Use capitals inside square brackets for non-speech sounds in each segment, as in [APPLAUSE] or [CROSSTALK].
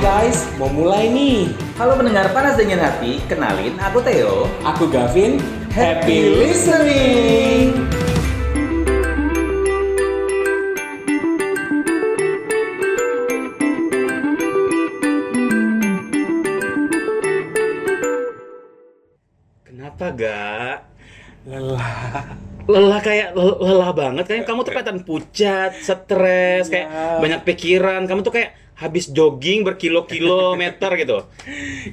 guys, mau mulai nih. Halo pendengar panas dengan hati, kenalin aku Theo. Aku Gavin. Happy listening. Kenapa gak? Lelah. Lelah kayak lel- lelah banget kayak kamu tuh kelihatan pucat, stres, kayak Ya. banyak pikiran. Kamu tuh kayak habis jogging [LAUGHS] berkilo-kilometer gitu.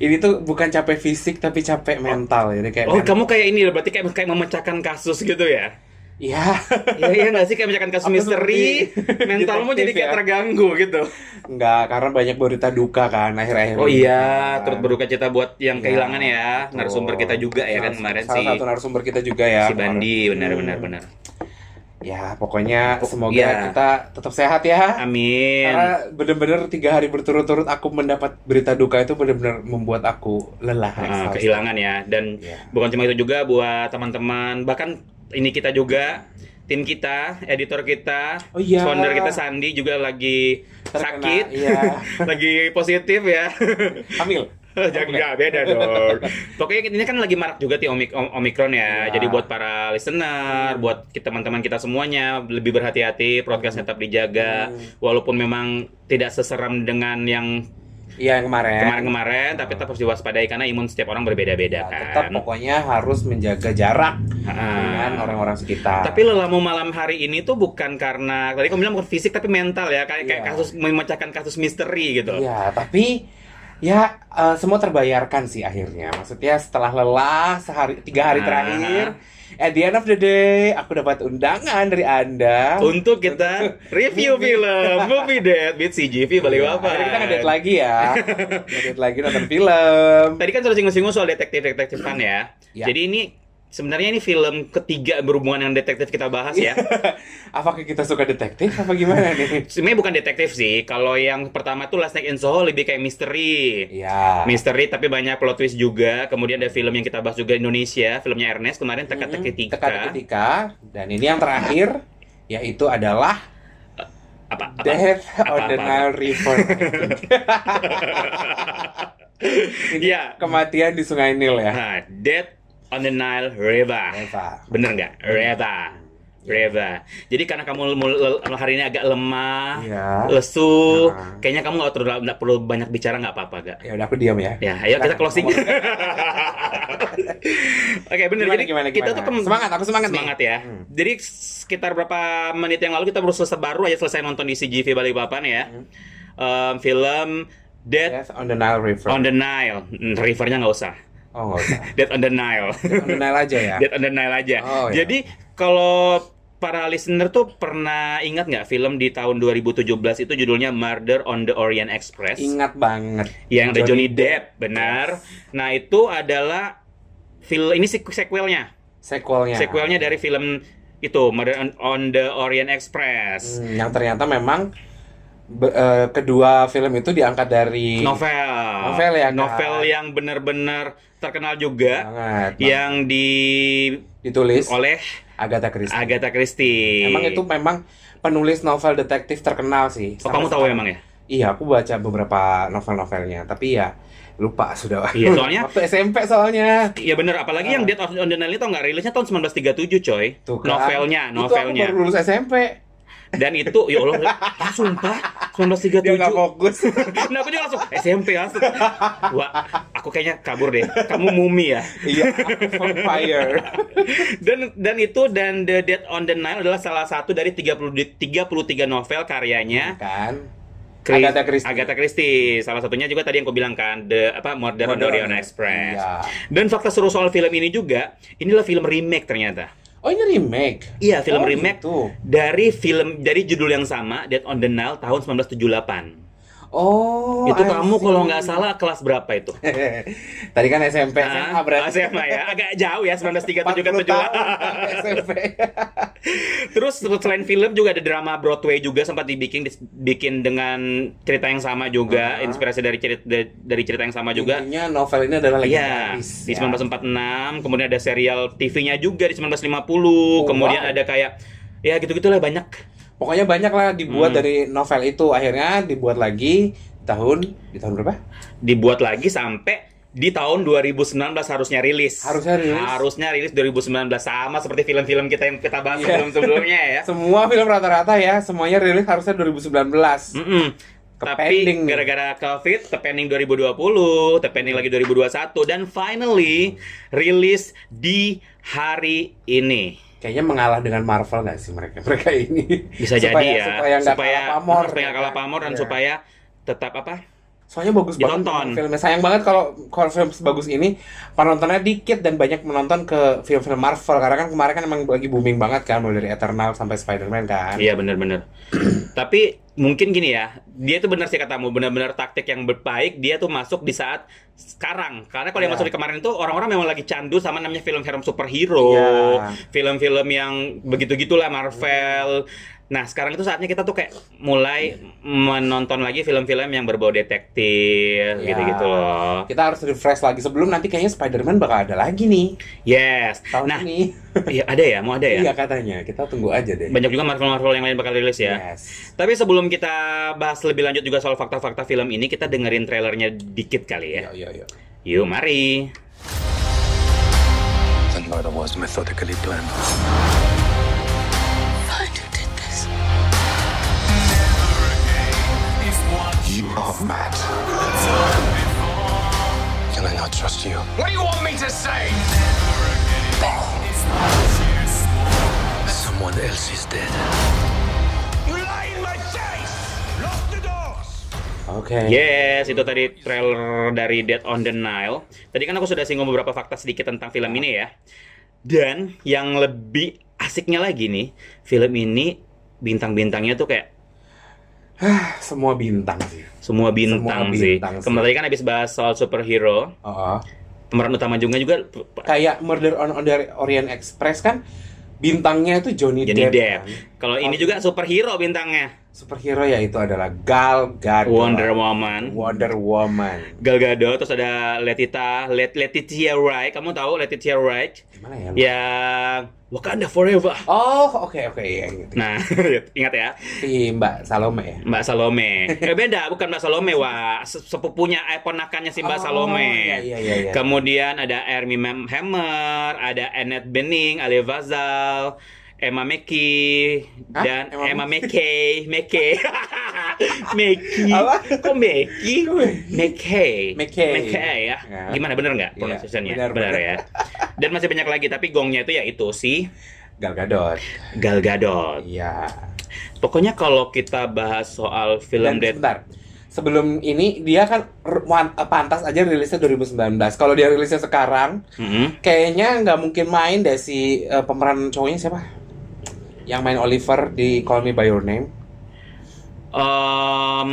Ini tuh bukan capek fisik tapi capek mental jadi kayak. kan- Oh, men- kamu kayak ini berarti kayak kayak memecahkan kasus gitu [LAUGHS] ya. Ya. Iya iya nggak sih kayak memecahkan kasus Aku misteri, seperti [LAUGHS] mentalmu jadi detektif kayak ya. terganggu gitu. Enggak, karena banyak berita duka kan akhir-akhir Oh ini iya, kan. turut berduka cita buat yang Iya, kehilangan ya, betul. narasumber kita juga ya kan Salah- kemarin salah si satu narasumber kita juga ya si Bandi, benar benar Hmm. benar. ya pokoknya Pok- semoga iya. kita tetap sehat ya Amin. Karena bener-bener tiga hari berturut-turut aku mendapat berita duka itu bener-bener membuat aku lelah. Ah, exhausted. kehilangan ya dan Iya. bukan cuma itu juga buat teman-teman bahkan ini kita juga tim kita editor kita Oh iya. founder kita Sandi juga lagi Terkena, sakit Iya. [LAUGHS] lagi positif [LAUGHS] ya Hamil. jangan nggak, beda dong pokoknya ini kan lagi marak juga ti omik Om- omikron ya Iya. jadi buat para listener buat kita teman-teman kita semuanya lebih berhati-hati prokesnya tetap dijaga Hmm. walaupun memang tidak seseram dengan yang Iya yang kemarin. kemarin-kemarin tapi tetap harus diwaspadai karena imun setiap orang Ya, berbeda-beda kan tetap pokoknya harus menjaga jarak dengan Ah. orang-orang sekitar. Tapi lelamu malam hari ini tuh bukan karena tadi kamu bilang bukan fisik tapi mental ya kayak kayak Iya. kasus memecahkan kasus misteri gitu. Iya, tapi ya eh, semua terbayarkan sih akhirnya. Maksudnya setelah lelah sehari tiga hari Ah. terakhir, at the end of the day aku dapat undangan dari anda. Untuk kita review film Movie Date with CGV Iya. Balikpapan. Akhirnya kita ngedate lagi [LAUGHS] ya. ngedate lagi nonton film. Tadi kan sudah singgung-singgung soal detektif-detektifan ya. Iya. Jadi ini sebenarnya ini film ketiga berhubungan dengan detektif kita bahas ya. Iya. Apakah kita suka detektif apa gimana nih? Sebenarnya bukan detektif sih. Kalau yang pertama tuh Last Night in Soho lebih kayak misteri. Iya. Misteri tapi banyak plot twist juga. Kemudian ada film yang kita bahas juga Indonesia, filmnya Ernest kemarin Teka-teki Mm-mm, Tika. Teka-teki Tika. Dan ini yang terakhir yaitu adalah Apa? apa? Death on apa- the apa? Nile River. [LAUGHS] Ini Iya. kematian di Sungai Nil ya. Nah, Death on the Nile River. Eva. Bener nggak? Iya. River. River. Jadi karena kamu mul- lel- hari ini agak lemah, Iya. lesu, Nah. kayaknya kamu nggak perlu nggak perlu banyak bicara nggak apa-apa gak? Ya udah aku diam ya. Ya, ayo Nah, kita closing. Oke, [LAUGHS] ngomong- bener. Gimana, Jadi gimana, kita gimana? tuh kem- Semangat, aku semangat nih. Semangat ya. Hmm. Jadi sekitar berapa menit yang lalu kita baru selesai baru aja selesai nonton di CGV Balikpapan ya. Hmm. Iya. Em, film Death Death on the Nile River. on the Nile. Hmm, Rivernya nggak usah. Oh nggak usah. Death on the Nile. [LAUGHS] Death on the Nile aja ya. Dead on the Nile aja. Oh, iya. Jadi kalau para listener tuh pernah ingat nggak film di tahun 2017 itu judulnya Murder on the Orient Express Ingat banget. yang ada Johnny, Johnny Depp, benar. Nah itu adalah film ini sek- sequelnya, Sequelnya. sequelnya dari film itu Murder on, on the Orient Express. Hmm, yang ternyata memang be- eh, kedua film itu diangkat dari Novel, Novel ya, kan? novel yang benar-benar terkenal juga, banget. yang di ditulis Iya. oleh Agatha Christie. Agatha Christie. Emang itu memang penulis novel detektif terkenal sih. Oh, Sampai kamu tahu sekarang. emang ya? Iya, aku baca beberapa novel-novelnya, tapi ya lupa sudah. Iya, [LAUGHS] soalnya- waktu SMP soalnya. Iya bener, apalagi yang Death on the Nile itu nggak rilisnya tahun 1937 coy Ah. Tuh kan. Novelnya, Itu aku novelnya baru lulus SMP. Dan itu, ya [LAUGHS] Allah, ah, sumpah 1937 Dia nggak [LAUGHS] fokus. Nah aku juga langsung SMP langsung Wah, aku kayaknya kabur deh, kamu mumi ya Iya, vampire. Dan dan itu, dan The Death on the Nile adalah salah satu dari 30, 33 novel karyanya kan? Chris- Agatha Christie. Agatha Christie. Salah satunya juga tadi yang kau bilang kan, The apa, Murder on the Murder on- Orient Express Iya. Dan fakta seru soal film ini juga, inilah film remake ternyata Oh, ini remake. Iya, film Oh, remake gitu. dari film dari judul yang sama Death on the Nile tahun 1978. Oh, itu I kamu see. kalau nggak salah kelas berapa itu? [LAUGHS] Tadi kan SMP, SMA Ah, berarti. SMA ya, agak jauh ya 1937 ke 40 tahun [LAUGHS] 78. SMP. [LAUGHS] Terus selain film juga ada drama Broadway juga sempat dibikin dibikin dengan cerita yang sama juga, Ah. inspirasi dari cerita dari cerita yang sama Nah, juga. Intinya novel ini adalah Iya, legendaris. di ya. 1946, kemudian ada serial TV-nya juga di 1950, kemudian Oh, wow. ada kayak ya gitu-gitulah banyak. Pokoknya banyak lah dibuat Hmm. dari novel itu. Akhirnya dibuat lagi tahun di tahun berapa? dibuat lagi sampai di tahun 2019 harusnya rilis. Harusnya rilis. Harusnya rilis 2019 sama seperti film-film kita yang kita bahas Iya. sebelum-sebelumnya [LAUGHS] ya. Semua film rata-rata ya, semuanya rilis harusnya 2019. Mm-mm. Tapi Kepending nih. gara-gara COVID, tepending 2020, tepending lagi 2021, dan finally rilis di hari ini. Kayaknya mengalah dengan Marvel nggak sih mereka mereka ini? Bisa [LAUGHS] Supaya- jadi ya, Supaya nggak kalah pamor. supaya nggak kalah pamor dan Iya. supaya tetap apa? Soalnya bagus banget Ditonton. memang filmnya. Sayang banget kalau kalau film sebagus ini penontonnya dikit dan banyak menonton ke film-film Marvel karena kan kemarin kan emang lagi booming banget kan mulai dari Eternal sampai Spider-Man kan. Iya benar-benar. [CLEARS THROAT] Tapi mungkin gini ya, dia tuh benar sih katamu, benar-benar taktik yang baik. Dia tuh masuk di saat sekarang. Karena kalau yang Iya. masuk di kemarin tuh orang-orang memang lagi candu sama namanya film-film superhero, Iya. film-film yang begitu gitulah Marvel. Nah sekarang itu saatnya kita tuh kayak mulai menonton lagi film-film yang berbau detektif, Iya. gitu-gitu loh. Kita harus refresh lagi sebelum nanti kayaknya Spider-Man bakal ada lagi nih Yes. tahun nah, ini. iya ada ya, mau ada ya. Iya katanya. Kita tunggu aja deh. Banyak juga Marvel-Marvel yang lain bakal rilis Iya. ya. Yes. Tapi sebelum kita bahas lebih lanjut juga soal fakta-fakta film ini, kita dengerin trailernya dikit kali ya. Yuk, yuk, yuk. Yuk, mari. The murder was methodically planned. Find who did this. You are mad. Can I not trust you? What do you want me to say? Someone else is dead. You lie in my face! Lock the doors! Oke. Iya. Yes, itu tadi trailer dari Dead on the Nile. Tadi kan aku sudah singgung beberapa fakta sedikit tentang film ini ya. Dan yang lebih asiknya lagi nih, film ini bintang-bintangnya tuh kayak Ah, Semua bintang sih. semua bintang, Semua bintang sih. sih. Kemarin tadi kan habis bahas soal superhero, Oh, pemeran utama juga juga Kayak Murder on, on the Orient Express kan bintangnya itu Johnny, Depp. Johnny Depp. kan. Kalau ini juga superhero bintangnya, Superhero yaitu adalah Gal Gadot. Wonder Woman. Wonder Woman. Gal Gadot, terus ada Letita, Let, Letitia Wright, kamu tahu Letitia Wright? Gimana ya? lu? Iya. Yang Wakanda Forever. Oh, oke oke ya gitu. Nah, [LAUGHS] ingat ya, Si Mbak Salome ya. Mbak Salome. Eh beda, bukan Mbak Salome, wah se- sepupunya, eh, ponakannya si Mbak Oh, Iya Salome. iya iya. iya. Kemudian ada Ermi Mem- Hammer, ada Annette Bening, Ale Vazal, Emma Meki Hah? dan Emma Emma, Mekey, [LAUGHS] Mekey. Meki. Apa? Kok Meki? Kok- Mekey. Mekey. ya. Ya. Gimana bener nggak Iya, pronunciation-nya? benar, benar benar. ya. Dan masih banyak lagi tapi gongnya itu ya itu si Gal Gadot. Gal Gadot. Iya. Pokoknya kalau kita bahas soal Dan film Dead sebentar. Sebelum ini dia kan r- wan- pantas aja rilisnya 2019. Kalau dia rilisnya sekarang, Mm-mm. kayaknya nggak mungkin main deh si eh, pemeran cowoknya siapa? Yang main Oliver di Call Me by Your Name. Em,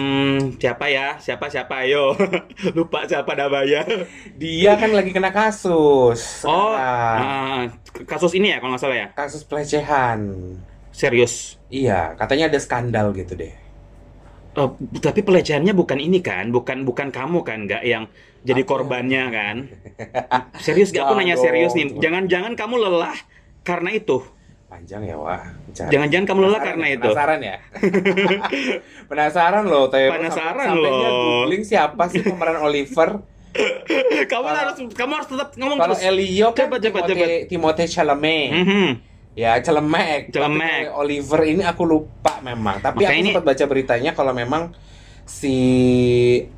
siapa ya? Siapa siapa? Ayo. [LAUGHS] Lupa siapa namanya. Dia kan lagi kena kasus. Oh, sekarang. ah, kasus ini ya kalau nggak salah ya. kasus pelecehan. Serius. Iya, katanya ada skandal gitu deh. Eh, tapi pelecehannya bukan ini kan, bukan bukan kamu kan, nggak yang jadi korbannya kan. Serius gak? Jangan Aku nanya dong. serius nih. Jangan-jangan kamu lelah karena itu. [LAUGHS] Panjang ya, Wah. Bicara. Jangan-jangan kamu lelah Penasaran karena ya, itu. Penasaran ya? [LAUGHS] penasaran loh, Teo. Penasaran sampai, Sampai dia loh. googling siapa sih pemeran Oliver. Kamu Kalau- harus kamu harus tetap ngomong Kalau terus. Elio kan Cepat, cepat, Timothée- Timothée Chalamet. Mhm. Ya, celemek. Celemek. Tapi kalau Oliver ini aku lupa memang. Tapi Makanya aku ini- sempat baca beritanya kalau memang si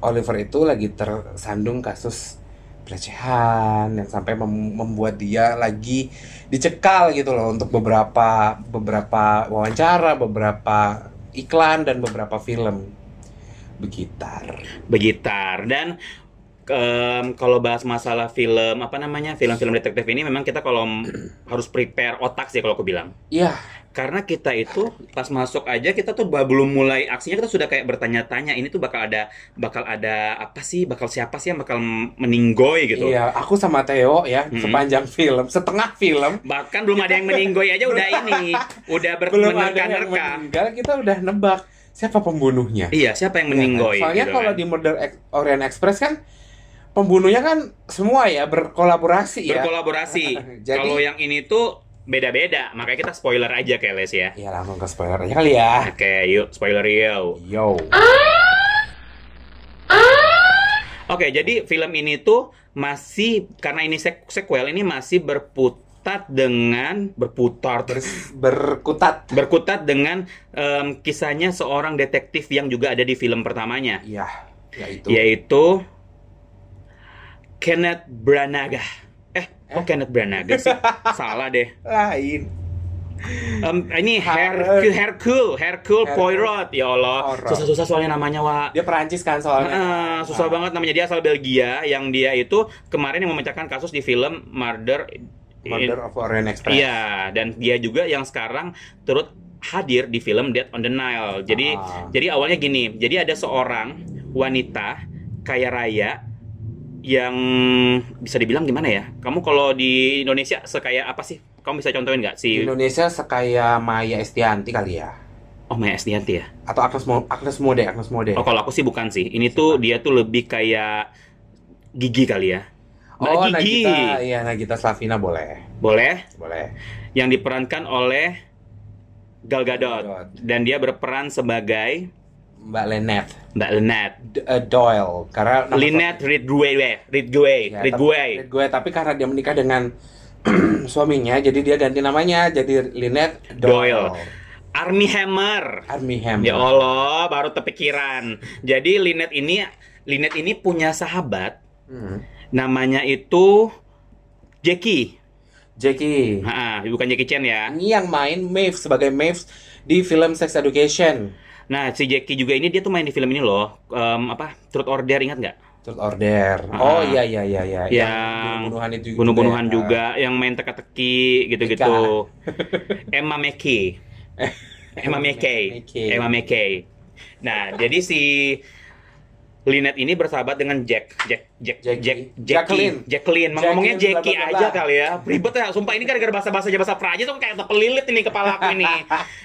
Oliver itu lagi tersandung kasus pelecehan yang sampai mem- membuat dia lagi dicekal gitu loh untuk beberapa beberapa wawancara, beberapa iklan dan beberapa film begitar. Begitar dan em, kalau bahas masalah film apa namanya film-film detektif ini memang kita [CLEARS THROAT] kalau harus prepare otak sih kalau aku bilang. Iya, Karena kita itu pas masuk aja kita tuh bah- belum mulai aksinya kita sudah kayak bertanya-tanya ini tuh bakal ada bakal ada apa sih bakal siapa sih yang bakal m- meninggoy gitu. Hmm. iya, aku sama Theo ya Mm-mm. sepanjang film, setengah film Bahkan belum ada yang meninggoy aja udah ini, udah [LAUGHS] ber- belum ada yang menerka-nerka. meninggal kita udah nebak siapa pembunuhnya. Ya kan? Iya, siapa yang meninggoy? Soalnya gitu kalau kan. di Murder Ex- Orient Express kan pembunuhnya kan semua ya berkolaborasi ya. berkolaborasi. [LAUGHS] Jadi- Kalau yang ini tuh beda-beda, makanya kita spoiler aja kayak Les ya. Iya Ah. langsung ke spoiler aja kali ya. Oke, yuk spoiler yuk. Yo. Oke, jadi film ini tuh masih karena ini sek- sequel ini masih berputar dengan berputar Terus berkutat. berkutat dengan em, kisahnya seorang detektif yang juga ada di film pertamanya Iya, ya itu. Gitu. yaitu Kenneth Branagh. Eh, kok Kenneth Branagh [LAUGHS] sih? Salah deh. Lain. Em, ini Har- Hercule, Hercule, Hercule Hercule. Poirot. Ya Allah, Poirot. susah-susah soalnya namanya, Wak. Dia Perancis kan soalnya. Ah, Heeh, Ah, susah banget namanya dia asal Belgia yang dia itu kemarin yang memecahkan kasus di film Murder in- Murder of Orient Express. Iya, dan dia juga yang sekarang turut hadir di film Death on the Nile. Jadi Ah. jadi awalnya gini, jadi ada seorang wanita kaya raya yang bisa dibilang gimana ya? Kamu kalau di Indonesia sekaya apa sih? Kamu bisa contohin nggak Di si Indonesia sekaya Maya Estianti kali ya. Oh Maya Estianti ya? Atau Agnes Mo Agnes Mode, Agnes Mode. Oh kalau aku sih bukan sih. Ini tuh Iya. dia tuh lebih kayak Gigi kali ya. Mbak Oh, Gigi. Nagita, iya Nagita Slavina boleh. Boleh? Boleh. yang diperankan oleh Gal Gal Gadot Gadot. dan dia berperan sebagai Mbak Lynette Mbak Lynette D- eh, Doyle karena nama- Lynette Ridgway Ridgway Ya, Ridgway tapi, Ridgway, tapi karena dia menikah dengan [CLEARS THROAT] suaminya jadi dia ganti namanya jadi Lynette Doyle. Doyle Army Hammer Army Hammer. ya Allah baru terpikiran jadi Lynette ini Lynette ini punya sahabat Hmm. namanya itu Jackie Jackie. Ah, bukan Jackie Chan ya Ini yang main Maeve sebagai Maeve di film Sex Education. nah si Jackie juga ini dia tuh main di film ini loh Em, apa Truth Order ingat nggak Truth Order. Ah. Oh iya iya iya iya. Yang bunuh-bunuhan itu juga Ya, bunuh-bunuhan ya. juga, yang main teka-teki gitu-gitu. [LAUGHS] Emma [LAUGHS] McKay. Emma McKay. McKay. Emma McKay. Nah, jadi si Lynette ini bersahabat dengan Jack, Jack, Jack, Jackie. Jack, Jacqueline. Jacqueline, Jacqueline. Emang ngomongnya Jacqueline, Jackie bla, bla, bla, aja bla. kali ya. Ribet ya, sumpah ini gara-gara bahasa-bahasa bahasa Prancis tuh kayak kepelilit ini kepala aku [LAUGHS] ini.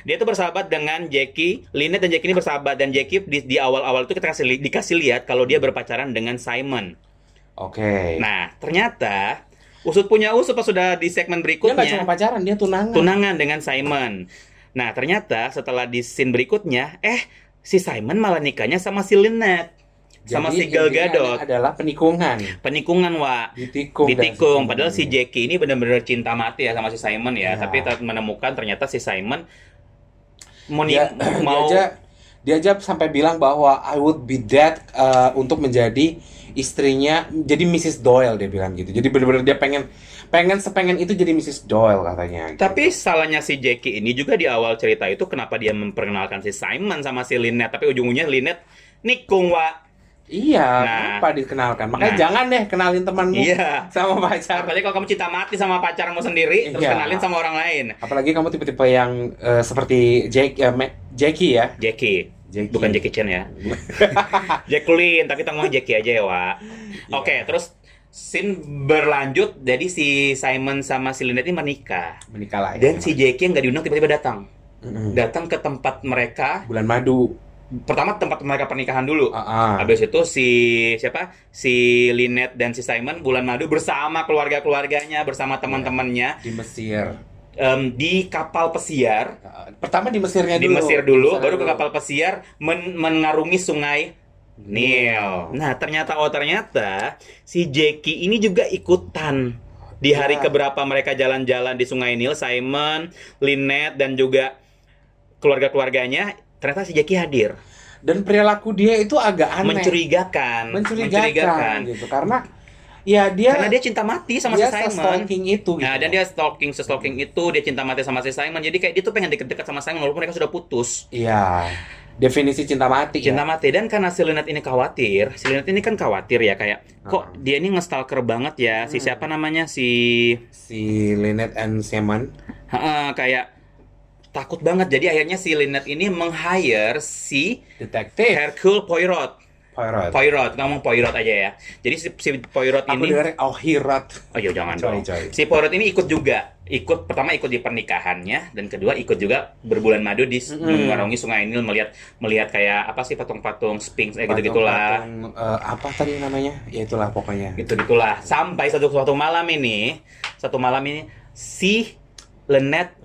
Dia tuh bersahabat dengan Jackie, Lynette dan Jackie ini bersahabat dan Jackie di, di awal-awal itu kita kasih li- dikasih lihat kalau dia berpacaran dengan Simon. Oke. Nah, ternyata usut punya usut pas sudah di segmen Dia nggak Iya, cuma berikutnya pacaran, dia tunangan. tunangan dengan Simon. Nah, ternyata setelah di scene berikutnya, eh si Simon malah nikahnya sama si Lynette. Jadi sama si Gal intinya Gadot. ada- adalah penikungan. Penikungan, Wak. Ditikung. Ditikung. dari- Padahal si Jackie ini benar-benar cinta mati ya sama si Simon ya. Ya. Tapi ter- menemukan ternyata si Simon mau, [CLEARS THROAT] ni- dia, Iya, dia mau aja dia aja sampai bilang bahwa I would be dead uh, untuk menjadi istrinya jadi Mrs Doyle dia bilang gitu jadi bener-bener dia pengen pengen sepengen itu jadi Mrs Doyle katanya gitu. Tapi salahnya si Jackie ini juga di awal cerita itu kenapa dia memperkenalkan si Simon sama si Lynette. Tapi ujung-ujungnya Lynette nikung, Wak. iya Nah. kenapa dikenalkan makanya Nah. jangan deh kenalin temanmu Iya. sama pacar Apalagi kalau kamu cinta mati sama pacarmu sendiri, terus Iya. kenalin sama orang lain. apalagi kamu tipe-tipe yang uh, seperti Jack eh, Ma- Jackie ya Jackie. Jackie. Bukan Jackie Chan [LAUGHS] ya. Jacqueline, tapi kita ngomong Jackie aja ya, Wak. Iya. Oke, terus scene berlanjut, jadi si Simon sama si Lynette ini menikah. menikah lah ya. Dan si Jackie yang nggak diundang tiba-tiba datang. Mm-mm. Datang ke tempat mereka, bulan madu pertama tempat mereka pernikahan dulu. Ah, ah. Habis itu si siapa? Si Lynette dan si Simon bulan madu bersama keluarga-keluarganya, bersama teman-temannya di Mesir em, di kapal pesiar Ah, pertama di Mesirnya di dulu Mesir dulu, Mesirnya baru ke kapal pesiar men- mengarungi sungai Nil. Nah ternyata oh ternyata si Jackie ini juga ikutan di hari Ya. keberapa mereka jalan-jalan di Sungai Nil, Simon, Lynette dan juga keluarga-keluarganya ternyata si Jackie hadir. dan perilaku dia itu agak aneh Mencurigakan, mencurigakan, gitu karena ya dia Karena dia cinta mati sama dia si Simon. stalking itu gitu. Nah, dan dia stalking, stalking itu dia cinta mati sama si Simon. Jadi kayak dia tuh pengen deket-deket sama Simon walaupun mereka sudah putus. Iya. Definisi cinta mati Cinta ya. mati dan karena si Lynette ini khawatir, si Lynette ini kan khawatir ya kayak kok Uh-huh. dia ini ngestalker banget ya si Hmm. siapa namanya si Si Lynette and Simon. Heeh, kayak takut banget. Jadi akhirnya si Lynette ini meng-hire si Detektif. Hercule Poirot. Poirot. Poirot, kita ngomong Poirot aja ya. Jadi si, si Poirot Aku ini dengar oh Hirat. Oh iya jangan Coy, dong. coy. Si Poirot ini ikut juga, ikut pertama ikut di pernikahannya dan kedua ikut juga berbulan madu di s- mengarungi Sungai Nil melihat melihat kayak apa sih patung-patung Sphinx eh gitu-gitulah. Gitu. Patung-patung, eh, apa tadi namanya? Ya itulah pokoknya. Gitu-gitulah. Sampai satu suatu malam ini, satu malam ini si Lenet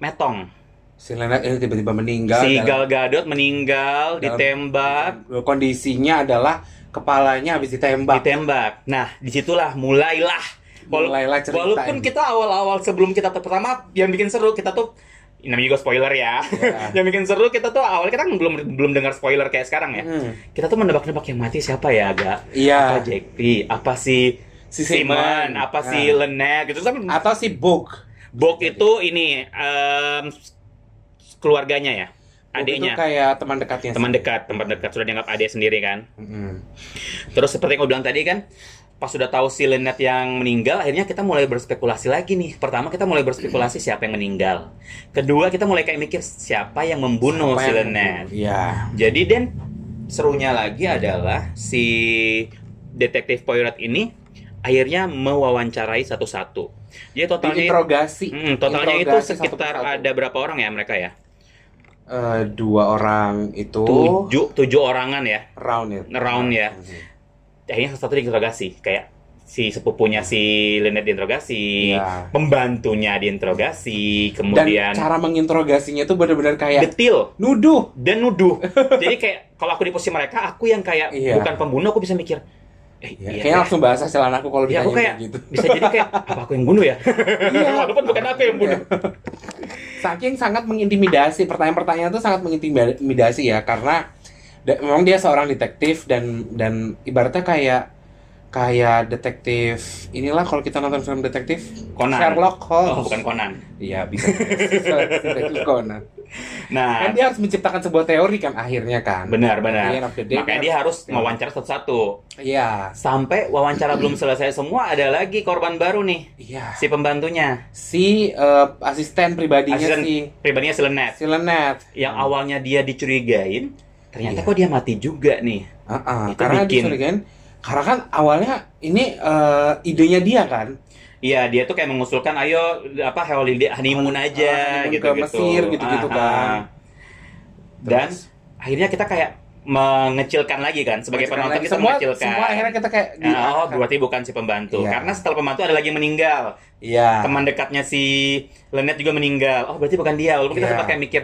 metong. Si Lynette ini tiba-tiba meninggal. si dalam- Gal Gadot meninggal dalam- ditembak. Kondisinya adalah kepalanya habis ditembak. ditembak. Nah, disitulah mulailah. Wala- Mulailah cerita Walaupun ini. kita awal-awal sebelum kita tuh pertama yang bikin seru kita tuh ini namanya juga spoiler ya. Iya. [LAUGHS] yang bikin seru kita tuh awal kita kan belum belum dengar spoiler kayak sekarang ya. Hmm. Kita tuh menebak-nebak yang mati siapa ya agak. Apa Iya. JP, apa si Si Simon, Simon. apa Ya. si Lenek gitu sampai Atau si Book. Bok Iya, itu ini em, keluarganya ya. Book itu Adiknya, kayak teman dekatnya. teman dekat, teman dekat sudah dianggap adik sendiri kan. Mm-mm. Terus seperti yang gue bilang tadi kan, pas sudah tahu si Lynette yang meninggal, akhirnya kita mulai berspekulasi lagi nih. Pertama kita mulai berspekulasi siapa yang meninggal. Kedua kita mulai kayak mikir siapa yang membunuh Apa si yang- Lynette. Iya. Jadi dan serunya lagi adalah si detektif Poirot ini akhirnya mewawancarai satu-satu. Dia totalnya Diinterogasi. Hmm, totalnya itu Interogasi satu sekitar persatu. ada berapa orang ya mereka ya? Eh, dua orang itu Tujuh, tujuh orangan ya. round ya. Round ya. Mhm. akhirnya satu diinterogasi kayak si sepupunya si Lynette diinterogasi, Iya. pembantunya diinterogasi, Dan kemudian cara ya? menginterogasinya itu benar-benar kayak detil nuduh. dan nuduh. [LAUGHS] Jadi kayak kalau aku di posisi mereka, aku yang kayak Iya. bukan pembunuh, aku bisa mikir, eh Ya, iya kayaknya ya. langsung bahasa celanaku kalau ditanya Ya, aku kayak gitu. [LAUGHS] Iya. bisa jadi kayak apa aku yang bunuh [LAUGHS] ya? Walaupun bukan aku yang bunuh. Saking sangat mengintimidasi, pertanyaan-pertanyaan itu sangat mengintimidasi ya karena da- memang dia seorang detektif dan dan ibaratnya kayak kayak detektif inilah kalau kita nonton film detektif Conan. Sherlock Holmes. Oh, bukan Conan. Iya bisa. detektif Conan. Kan Nah, dia harus menciptakan sebuah teori kan akhirnya kan. At the end benar-benar. of the day, Makanya dia harus mewawancara satu-satu. kan Iya. Sampai wawancara belum selesai semua, ada lagi korban baru nih, Iya. si pembantunya. Si eh, asisten pribadinya Asisten si pribadinya si Lenet. si Lenet. Yang awalnya dia dicurigain, Iya. ternyata kok dia mati juga nih. Heeh, Itu karena bikin. disurigain karena kan awalnya ini eh, idenya dia kan Iya, dia tuh kayak mengusulkan ayo apa holiday honeymoon aja Ah, honeymoon gitu ke Mesir, gitu-gitu kan. ah. Dan Terus? akhirnya kita kayak mengecilkan lagi kan sebagai penonton kita semua mengecilkan. semua akhirnya kita kayak Nah, oh, berarti bukan si pembantu. Iya. Karena setelah pembantu ada lagi yang meninggal. iya Teman dekatnya si Lenet juga meninggal. Oh, berarti bukan dia. Walaupun kita Iya. sempat kayak mikir,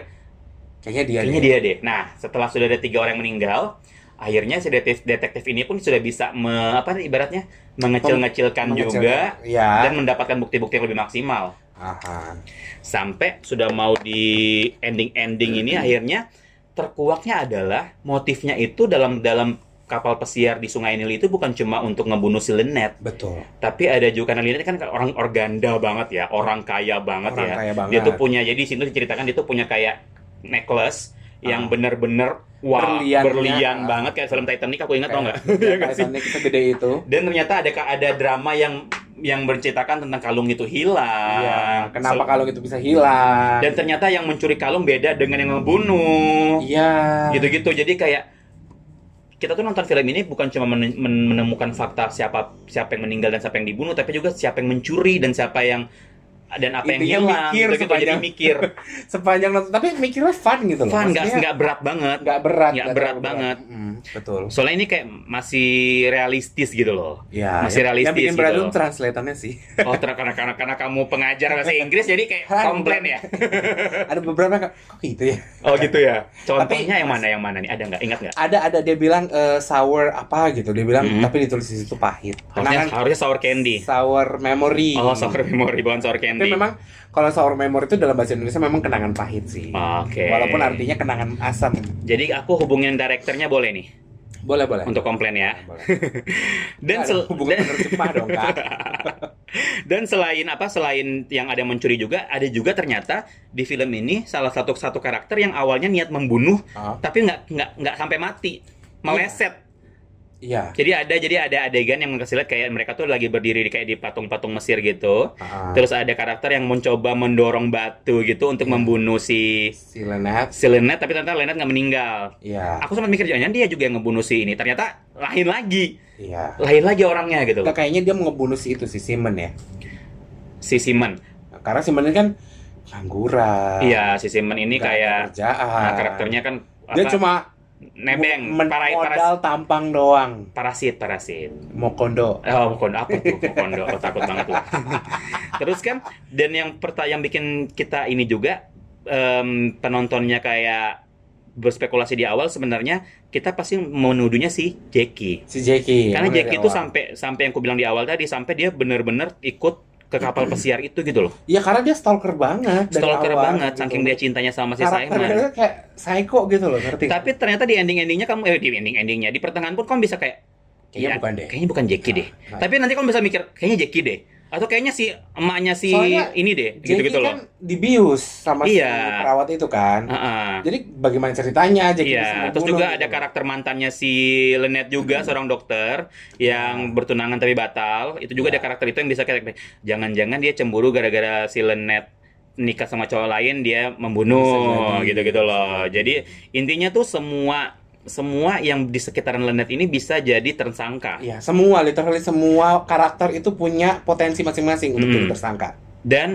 kayaknya dia Kayaknya deh. dia deh. Nah, setelah sudah ada tiga orang yang meninggal, akhirnya si detektif, detektif ini pun sudah bisa me- apa nih ibaratnya mengecil-ngecilkan Mengecilkan. juga Iya. dan mendapatkan bukti-bukti yang lebih maksimal. Aha. Sampai sudah mau di ending-ending Hmm. ini akhirnya terkuaknya adalah motifnya itu dalam dalam kapal pesiar di Sungai Nil itu bukan cuma untuk ngebunuh si Lenet, betul tapi ada juga karena Lenet kan orang organda banget ya, orang kaya banget Orang ya. kaya banget. Dia tuh punya jadi di situ diceritakan dia tuh punya kayak necklace yang Ah. bener-bener wah berlian, Berliannya, ah. banget kayak film Titanic aku ingat tau nggak? [LAUGHS] Iya kayak nggak sih? Titanic segede itu Dan ternyata ada ada drama yang yang berceritakan tentang kalung itu hilang. Iya, kenapa Sel- kalau gitu bisa hilang Dan ternyata yang mencuri kalung beda dengan yang ngebunuh. iya Gitu-gitu. Jadi kayak kita tuh nonton film ini bukan cuma men- men- menemukan fakta siapa siapa yang meninggal dan siapa yang dibunuh, tapi juga siapa yang mencuri dan siapa yang dan apa yang Intinya hilang. mikir gitu-gitu. Jadi sepanjang- [LAUGHS] mikir. sepanjang nonton tapi mikirnya fun gitu loh fun nggak Maksudnya nggak berat banget nggak berat nggak nggak berat terlalu banget. Mm, betul soalnya ini kayak masih realistis gitu loh Iya, masih realistis yang bikin berat gitu itu translatannya sih [LAUGHS] oh ter- karena, karena karena kamu pengajar bahasa Inggris jadi kayak Kan. komplain [LAUGHS] ya ada beberapa yang kayak, kok gitu ya oh gitu ya Tapi- contohnya yang mana yang mana nih ada nggak ingat nggak ada ada dia bilang eh, sour apa gitu dia bilang Hmm. tapi ditulis di situ pahit harusnya Karena kan harusnya sour candy sour memory oh sour memory bukan sour tapi candy memang kalau sour memory itu dalam bahasa Indonesia memang kenangan pahit sih Oke. walaupun artinya kenangan asam jadi aku hubungin direkturnya boleh nih boleh boleh untuk komplain ya Boleh. dan Ada sel- hubungan dan- penerjemah dong kak Dan selain apa selain yang ada yang mencuri juga ada juga ternyata di film ini salah satu satu karakter yang awalnya niat membunuh Ah. tapi nggak nggak nggak sampai mati meleset. iya Jadi ada jadi ada adegan yang kasih lihat kayak mereka tuh lagi berdiri di- kayak di patung-patung Mesir gitu. Ah. Iya. Terus ada karakter yang mencoba mendorong batu gitu untuk membunuh si si Lenat si Lenet tapi ternyata Lenet nggak meninggal. iya Aku sempat mikir jangan dia juga yang ngebunuh si ini. Ternyata lain lagi. iya Lain lagi orangnya gitu. Kita kayaknya dia ngebunuh si itu si Simon ya Si Simon. karena Simon ini kan pengangguran Iya, si Simon ini Ah. nggak ada kayak kerjaan. Nah, karakternya kan dia apa, cuma nebeng, men- parai- modal paras- tampang doang parasit, parasit. mau kondo Oh, kondo apa [LAUGHS] tuh? Kondo, oh, takut banget tuh. Terus kan, dan yang perta yang bikin kita ini juga em, penontonnya kayak berspekulasi di awal sebenarnya kita pasti menuduhnya si Jackie. si Jackie Karena emang dari Jackie itu Iya, awal. sampai sampai yang aku bilang di awal tadi sampai dia benar-benar ikut ke kapal [CLEARS THROAT] pesiar itu gitu loh. Iya karena dia stalker banget dari Stalker awal, banget gitu. saking dia cintanya sama si Simon. Karakternya kayak psycho gitu loh, ngerti? nggak? Tapi ternyata di ending-endingnya kamu eh di ending-endingnya di pertengahan pun kamu bisa kayak "Ya, Kayaknya bukan deh. Kayaknya bukan Jackie Nah, deh. nah. Tapi nanti kamu bisa mikir kayaknya Jackie deh atau kayaknya si emaknya si Soalnya ini deh Jackie gitu-gitu loh. kan dibius sama Iya. si perawat itu kan. Heeh. Jadi bagaimana ceritanya Jackie bisa Iya, terus membunuh juga gitu ada loh. karakter mantannya si Lenet juga seorang dokter yang bertunangan tapi batal. Itu Iya. juga ada karakter itu yang bisa kita jangan-jangan dia cemburu gara-gara si Lenet nikah sama cowok lain dia membunuh Bisa jadi. gitu-gitu loh. Jadi intinya tuh semua semua yang di sekitaran Lenet ini bisa jadi tersangka. Iya, semua literally semua karakter itu punya potensi masing-masing untuk Hmm. jadi tersangka. Dan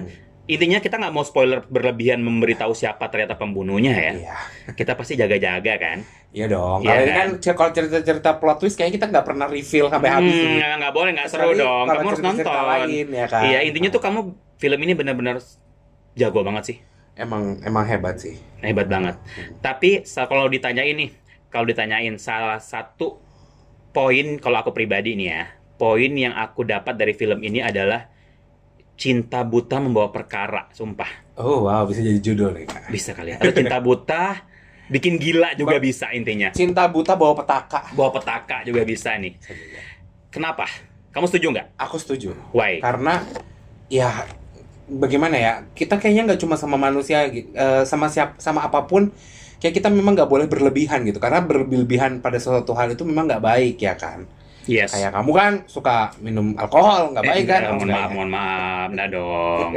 intinya kita nggak mau spoiler berlebihan memberitahu siapa ternyata pembunuhnya ya. Iya. Kita pasti jaga-jaga kan. Iya dong. Iya Kalau ini kan? kan cer- kalau cerita-cerita plot twist kayaknya kita nggak pernah reveal sampai habis. Hmm, ini. nggak nggak boleh nggak seru Kecuali dong. kalau Kamu harus cerita-cerita nonton. lain, ya kan? Iya intinya tuh kamu film ini benar-benar jago banget sih, Emang emang hebat sih. hebat banget. Tapi sa- kalau ditanyain nih, kalau ditanyain salah satu poin kalau aku pribadi nih ya, poin yang aku dapat dari film ini adalah cinta buta membawa perkara, sumpah Oh wow, bisa jadi judul nih. Kak. bisa kali ya. Ada [LAUGHS] cinta buta bikin gila juga bisa intinya. Cinta buta bawa petaka. Bawa petaka juga bisa nih. Kenapa? Kamu setuju nggak? Aku setuju. Why? Karena ya bagaimana ya? Kita kayaknya nggak cuma sama manusia, eh, sama siap, sama apapun. Kayak kita memang nggak boleh berlebihan gitu. Karena berlebihan pada suatu hal itu memang nggak baik ya kan. Yes. Kayak kamu kan suka minum alkohol, nggak Eh, baik kan? eh, mohon Maksudnya. maaf, mohon maaf, nggak dong.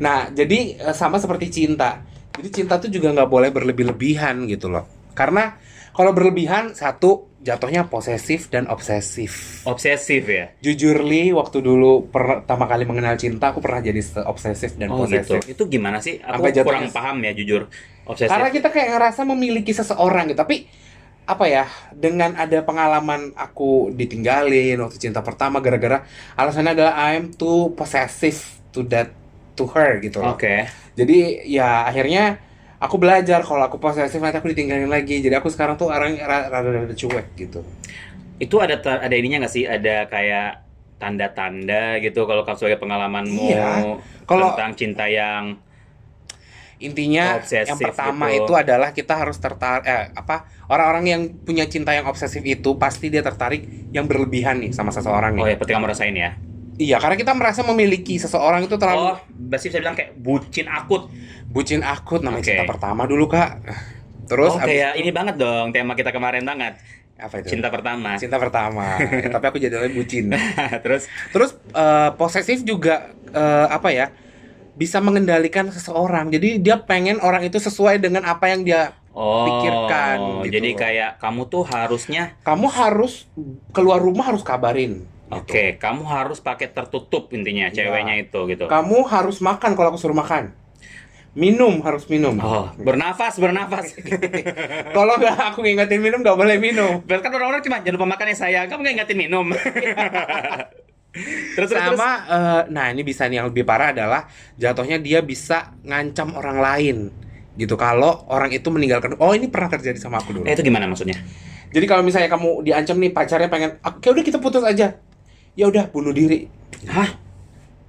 Nah, jadi eh, sama seperti cinta. Jadi cinta tuh juga nggak boleh berlebih-lebihan gitu loh. Karena kalau berlebihan satu jatuhnya posesif dan obsesif. Obsesif ya. Jujur li, waktu dulu pertama kali mengenal cinta aku pernah jadi se- obsesif dan Oh gitu. posesif. Itu gimana sih? Aku Sampai jatuh kurang es. paham ya jujur. Obsesif. Karena kita kayak ngerasa memiliki seseorang gitu, tapi apa ya dengan ada pengalaman aku ditinggalin waktu cinta pertama gara-gara alasannya adalah I'm too possessive to that to her gitu loh. Oke. Jadi ya akhirnya aku belajar kalau aku posesif nanti aku ditinggalin lagi. Jadi aku sekarang tuh orang ra- rada-rada cuek gitu. Itu ada ter- ada ininya nggak sih? Ada kayak tanda-tanda gitu kalau kamu sebagai pengalamanmu Iya. Kalau- tentang cinta yang Intinya Obsesif yang pertama gitu. itu adalah kita harus tertarik eh, apa orang-orang yang punya cinta yang obsesif itu pasti dia tertarik yang berlebihan nih sama seseorang oh nih. ya pasti kamu rasain ya. Iya, karena kita merasa memiliki seseorang itu Oh, terlalu berarti bisa bilang kayak bucin akut. bucin akut namanya Oke. cinta pertama dulu, Kak. Terus oh, abis kayak itu- Iya. ini banget dong tema kita kemarin banget. apa itu? Cinta pertama. [LAUGHS] Cinta pertama. Eh, Tapi aku jadinya bucin. Terus Terus eh, posesif juga eh, apa ya? Bisa mengendalikan seseorang. Jadi dia pengen orang itu sesuai dengan apa yang dia oh, Pikirkan, gitu Jadi loh. kayak kamu tuh harusnya kamu harus keluar rumah harus kabarin. gitu. oke, kamu harus pakai tertutup intinya Iya. ceweknya itu gitu. Kamu harus makan kalau aku suruh makan. Minum harus minum. Oh, bernafas, bernafas. [LAUGHS] Kalau nggak aku ngingetin minum nggak boleh minum. Berarti kan orang-orang cuma jangan lupa makan ya saya. Kamu nggak ingetin minum. [LAUGHS] terus terus, terus. Iya. Sama eh, nah ini bisa nih yang lebih parah adalah jatuhnya dia bisa ngancam orang lain gitu kalau orang itu meninggalkan oh ini pernah terjadi sama aku dulu Eh, itu gimana maksudnya? Jadi kalau misalnya kamu diancam nih pacarnya pengen, oke udah kita putus aja. Ya udah bunuh diri. Hah?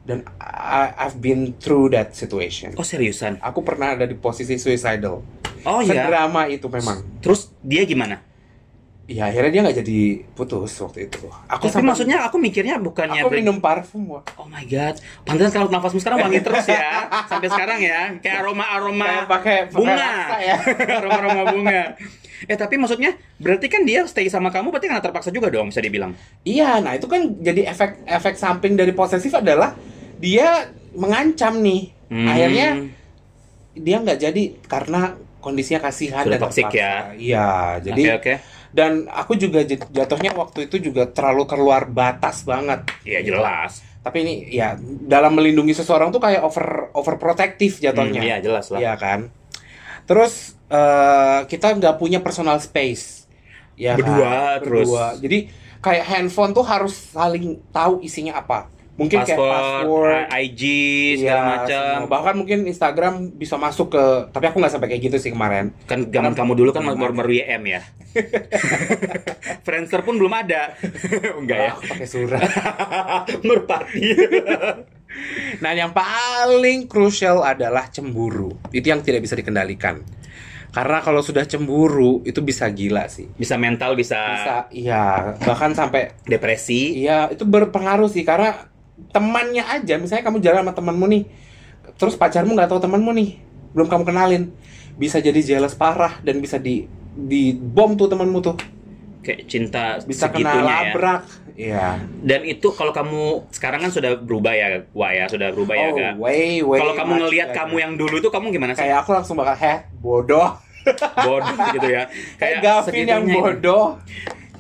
Dan I, I've been through that situation. Oh seriusan? Aku pernah ada di posisi suicidal. Oh iya. Sedrama itu memang. Terus dia gimana? Ya akhirnya dia nggak jadi putus waktu itu. Aku Tapi maksudnya aku mikirnya bukannya aku break- minum parfum wah. Oh my god. Pantesan kalau nafasmu sekarang wangi [LAUGHS] terus ya. Sampai sekarang ya. Kayak Kayak pakai aroma-aroma pakai bunga. rasa [LAUGHS] ya. aroma-aroma bunga. Eh tapi maksudnya berarti kan dia stay sama kamu berarti karena terpaksa juga dong bisa dibilang. Iya, nah itu kan jadi efek efek samping dari posesif adalah dia mengancam nih. Hmm. Akhirnya dia nggak jadi karena kondisinya kasihan Sudah dan toxic terpaksa. ya. Iya, jadi oke oke. dan aku juga j- jatuhnya waktu itu juga terlalu keluar batas banget. Iya jelas. Tapi ini ya dalam melindungi seseorang tuh kayak over overprotektif jatuhnya. Hmm, Iya jelas lah. Iya kan. Terus eh, kita nggak punya personal space. Ya kan? Berdua, terus. Jadi kayak handphone tuh harus saling tahu isinya apa. mungkin kayak password IG iya, segala macam. semua. bahkan mungkin Instagram bisa masuk ke tapi aku nggak sampai kayak gitu sih kemarin Kan zaman kamu dulu kan baru-baru YM ya. [LAUGHS] Friendster pun belum [LAUGHS] ada. Enggak ya. aku pakai surat [LAUGHS] Merpati. [LAUGHS] Nah, yang paling krusial adalah cemburu. Itu yang tidak bisa dikendalikan. Karena kalau sudah cemburu itu bisa gila sih. bisa mental, bisa, Bisa, iya, bahkan sampai depresi. iya itu berpengaruh sih karena temannya aja, misalnya kamu jalan sama temanmu nih, terus pacarmu nggak tahu temanmu nih, belum kamu kenalin, bisa jadi jealous parah dan bisa di di bom tuh temanmu tuh, Kayak cinta bisa kena segitunya ya. labrak. Iya. Dan itu kalau kamu sekarang kan sudah berubah ya, Wah ya sudah Oh, berubah ya Kak. way way. Kalau kamu much ngelihat better. kamu yang dulu tuh kamu gimana sih? Iya, kayak aku langsung bakal heh bodoh. bodoh gitu ya. [LAUGHS] kayak Gavin yang segitunya. gitu. bodoh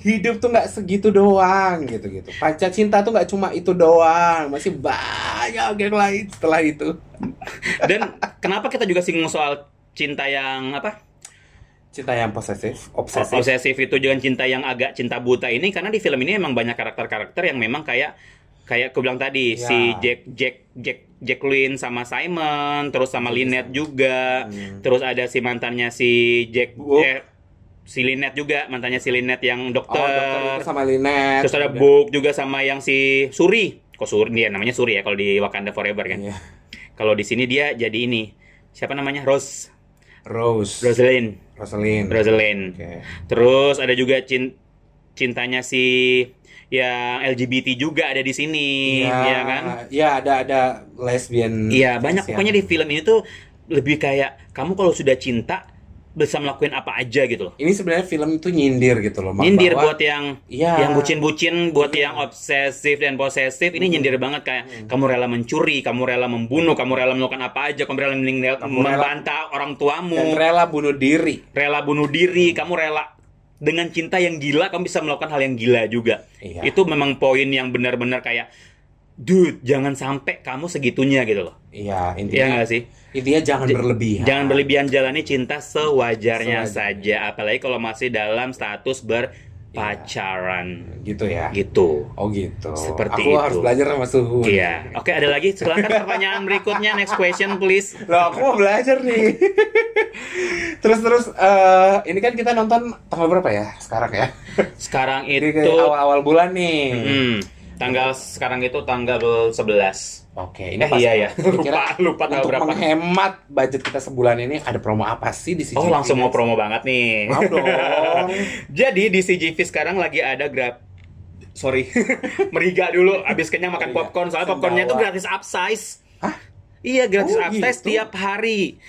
hidup tuh nggak segitu doang gitu gitu pacar cinta tuh nggak cuma itu doang masih banyak yang lain setelah itu Dan kenapa kita juga singgung soal cinta yang apa? cinta yang posesif Obsesif. obsesif itu juga cinta yang agak cinta buta ini karena di film ini emang banyak karakter-karakter yang memang kayak kayak aku bilang Ya. tadi si Jack Jack Jack Jacqueline sama Simon, terus sama Lynette juga. Iya. Hmm. Terus ada si mantannya si Jack Book. eh, si Lynette juga, mantannya si Lynette yang oh dokter itu dokter. sama Linet Eh, terus ada Book juga sama yang si Suri. Kok Suri? Dia namanya Suri ya kalau di Wakanda Forever kan. Iya. Kalau di sini dia jadi ini. Siapa namanya? Rose. Rose Rosalind. Rosalind Rosalind. Oke. Terus ada juga cin- cintanya si ya, yang LGBT juga ada di sini, Ya, ya kan? ya ada ada lesbian Iya, banyak pokoknya di film ini tuh lebih kayak kamu kalau sudah cinta bisa melakukan apa aja gitu loh. ini sebenarnya film itu nyindir gitu loh Mak, Nyindir bahwa- buat yang Iya. yang bucin-bucin, buat yang obsesif dan posesif ini Hmm. nyindir banget kayak kamu rela mencuri, kamu rela membunuh, kamu rela melakukan apa aja, kamu rela meninggal, Kamu rela- membantah orang tuamu. dan rela bunuh diri rela bunuh diri, kamu rela dengan cinta yang gila, kamu bisa melakukan hal yang gila juga. Iya. Itu memang poin yang benar-benar kayak, dude, jangan sampai kamu segitunya gitu loh. iya Iya intinya nggak sih? intinya jangan berlebihan Jangan berlebihan jalani cinta Iya. sewajarnya Sewajarnya. saja, apalagi kalau masih dalam status berpacaran gitu ya gitu. Oh gitu. Seperti aku itu. harus belajar sama suhu. Iya. Oke, ada lagi. Silakan pertanyaan berikutnya. Next question, please. Loh, aku mau belajar nih. [LAUGHS] terus terus eh ini kan kita nonton tanggal berapa ya sekarang [LAUGHS] ya? Sekarang Ini itu, kayak awal-awal bulan nih. Hmm, tanggal sekarang itu tanggal 11. Oke, ini Eh, pas iya, iya. [LAUGHS] kira-kira Lupa- lupa tanggal untuk berapa. menghemat budget kita sebulan ini ada promo apa sih di sini? Oh, langsung mau promo banget nih. Mau dong. [LAUGHS] Jadi di CGV sekarang lagi ada grab Sorry, [LAUGHS] meriga dulu. Abis kenyang makan Meriga. popcorn. Soalnya popcornnya tuh Sendawa. gratis upsize. Oh, iya. Hah? Iya, gratis Oh, upsize gitu? tiap hari.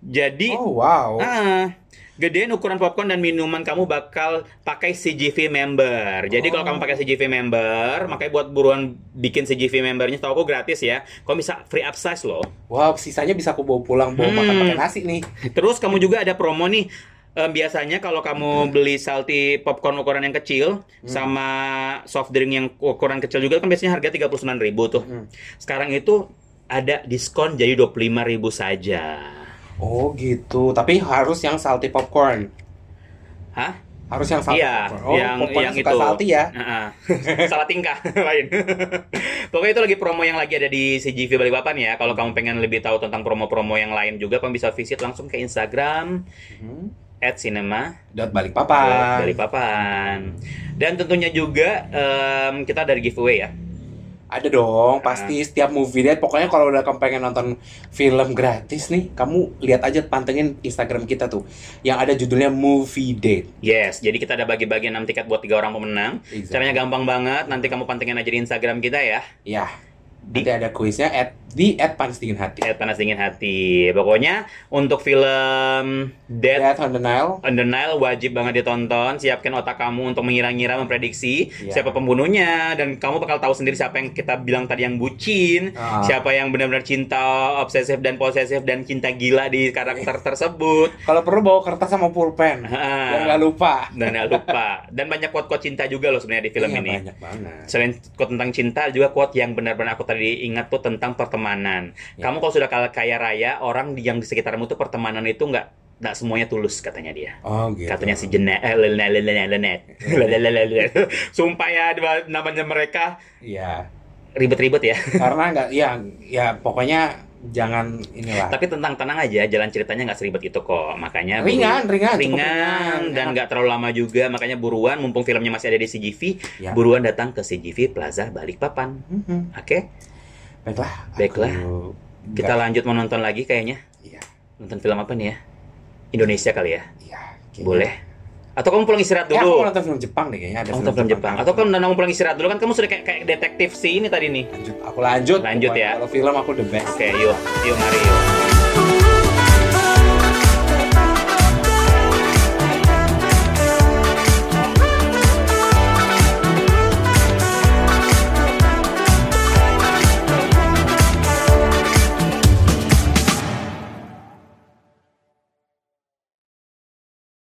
Jadi, Oh wow. ah, gedein ukuran popcorn dan minuman kamu bakal pakai CGV member. Jadi kalau kamu Oh. pakai CGV member, makanya buat buruan bikin CGV membernya. Tahu aku gratis ya. Kamu bisa free upsize loh. Wow, sisanya bisa aku bawa pulang bawa Hmm. makan pakai nasi nih. Terus kamu juga ada promo nih. Eh, biasanya kalau kamu beli salty popcorn ukuran yang kecil Hmm. sama soft drink yang ukuran kecil juga kan biasanya harga 39.000 tuh. Hmm. Sekarang itu ada diskon jadi 25.000 saja. Oh gitu. Tapi harus yang salty popcorn. Hah? Harus yang salty Iya, popcorn. Oh, yang popcorn yang suka itu. salty ya. Heeh. Salah tingkah [LAUGHS] lain. Pokoknya itu lagi promo yang lagi ada di CGV Balikpapan ya. Kalau kamu pengen lebih tahu tentang promo-promo yang lain juga, kamu bisa visit langsung ke Instagram Hmm. @cinema Dot balik papan. dari papan. Dan tentunya juga em, kita dari giveaway ya. Ada dong, Hmm. pasti setiap movie date. Pokoknya kalau udah kamu pengen nonton film gratis nih, kamu lihat aja pantengin Instagram kita tuh. Yang ada judulnya Movie Date. Yes, jadi kita ada bagi-bagi 6 tiket buat tiga orang pemenang. Exactly. Caranya gampang banget, nanti kamu pantengin aja di Instagram kita ya. Ya, Di- nanti ada kuisnya at, di at Panas Dingin Hati. Eh, panas dingin hati. Pokoknya untuk film Dead Death on the Nile. On the Nile wajib banget ditonton. Siapkan otak kamu untuk mengira-ngira, memprediksi Iya. siapa pembunuhnya dan kamu bakal tahu sendiri siapa yang kita bilang tadi yang bucin, Ah. siapa yang benar-benar cinta obsesif dan posesif dan cinta gila di Iya. karakter tersebut. Kalau perlu bawa kertas sama pulpen. Ah. Biar nggak lupa. Dan jangan nah, lupa. Dan banyak quote-quote cinta juga loh sebenarnya di film Iya, ini. Banyak banget. Selain quote tentang cinta, juga quote yang benar-benar aku tadi ingat tuh tentang pertemanan. Ya. Kamu kalau sudah kala- kaya raya, orang di- yang di sekitarmu tuh pertemanan itu nggak nggak semuanya tulus katanya dia. Oh gitu. Katanya si Jenet, eh, Lenet, Iya. Lenet, Lenet, Lenet. Sumpah ya dua- namanya mereka Iya. ribet-ribet ya. karena nggak ya ya pokoknya jangan inilah Tapi tentang tenang aja, jalan ceritanya nggak seribet itu kok. Makanya buru- ringan ringan cukup ringan dan nggak terlalu lama juga. Makanya buruan, mumpung filmnya masih ada di CGV, Ya. buruan datang ke CGV Plaza Balikpapan. Mhm. Oke, baiklah Baiklah. aku kita nggak- lanjut menonton lagi kayaknya. iya Nonton film apa nih ya? Indonesia kali ya? iya kayaknya. Boleh. Atau kamu pulang istirahat ya, aku mau dulu. nonton film Jepang deh kayaknya ada kamu nonton film Jepang. Atau kan kamu nonton pulang istirahat dulu kan kamu sudah kayak, kayak detektif sih ini tadi nih. lanjut aku lanjut Lanjut Pokoknya ya. kalau film aku the best Oke, yuk, yuk mari yuk.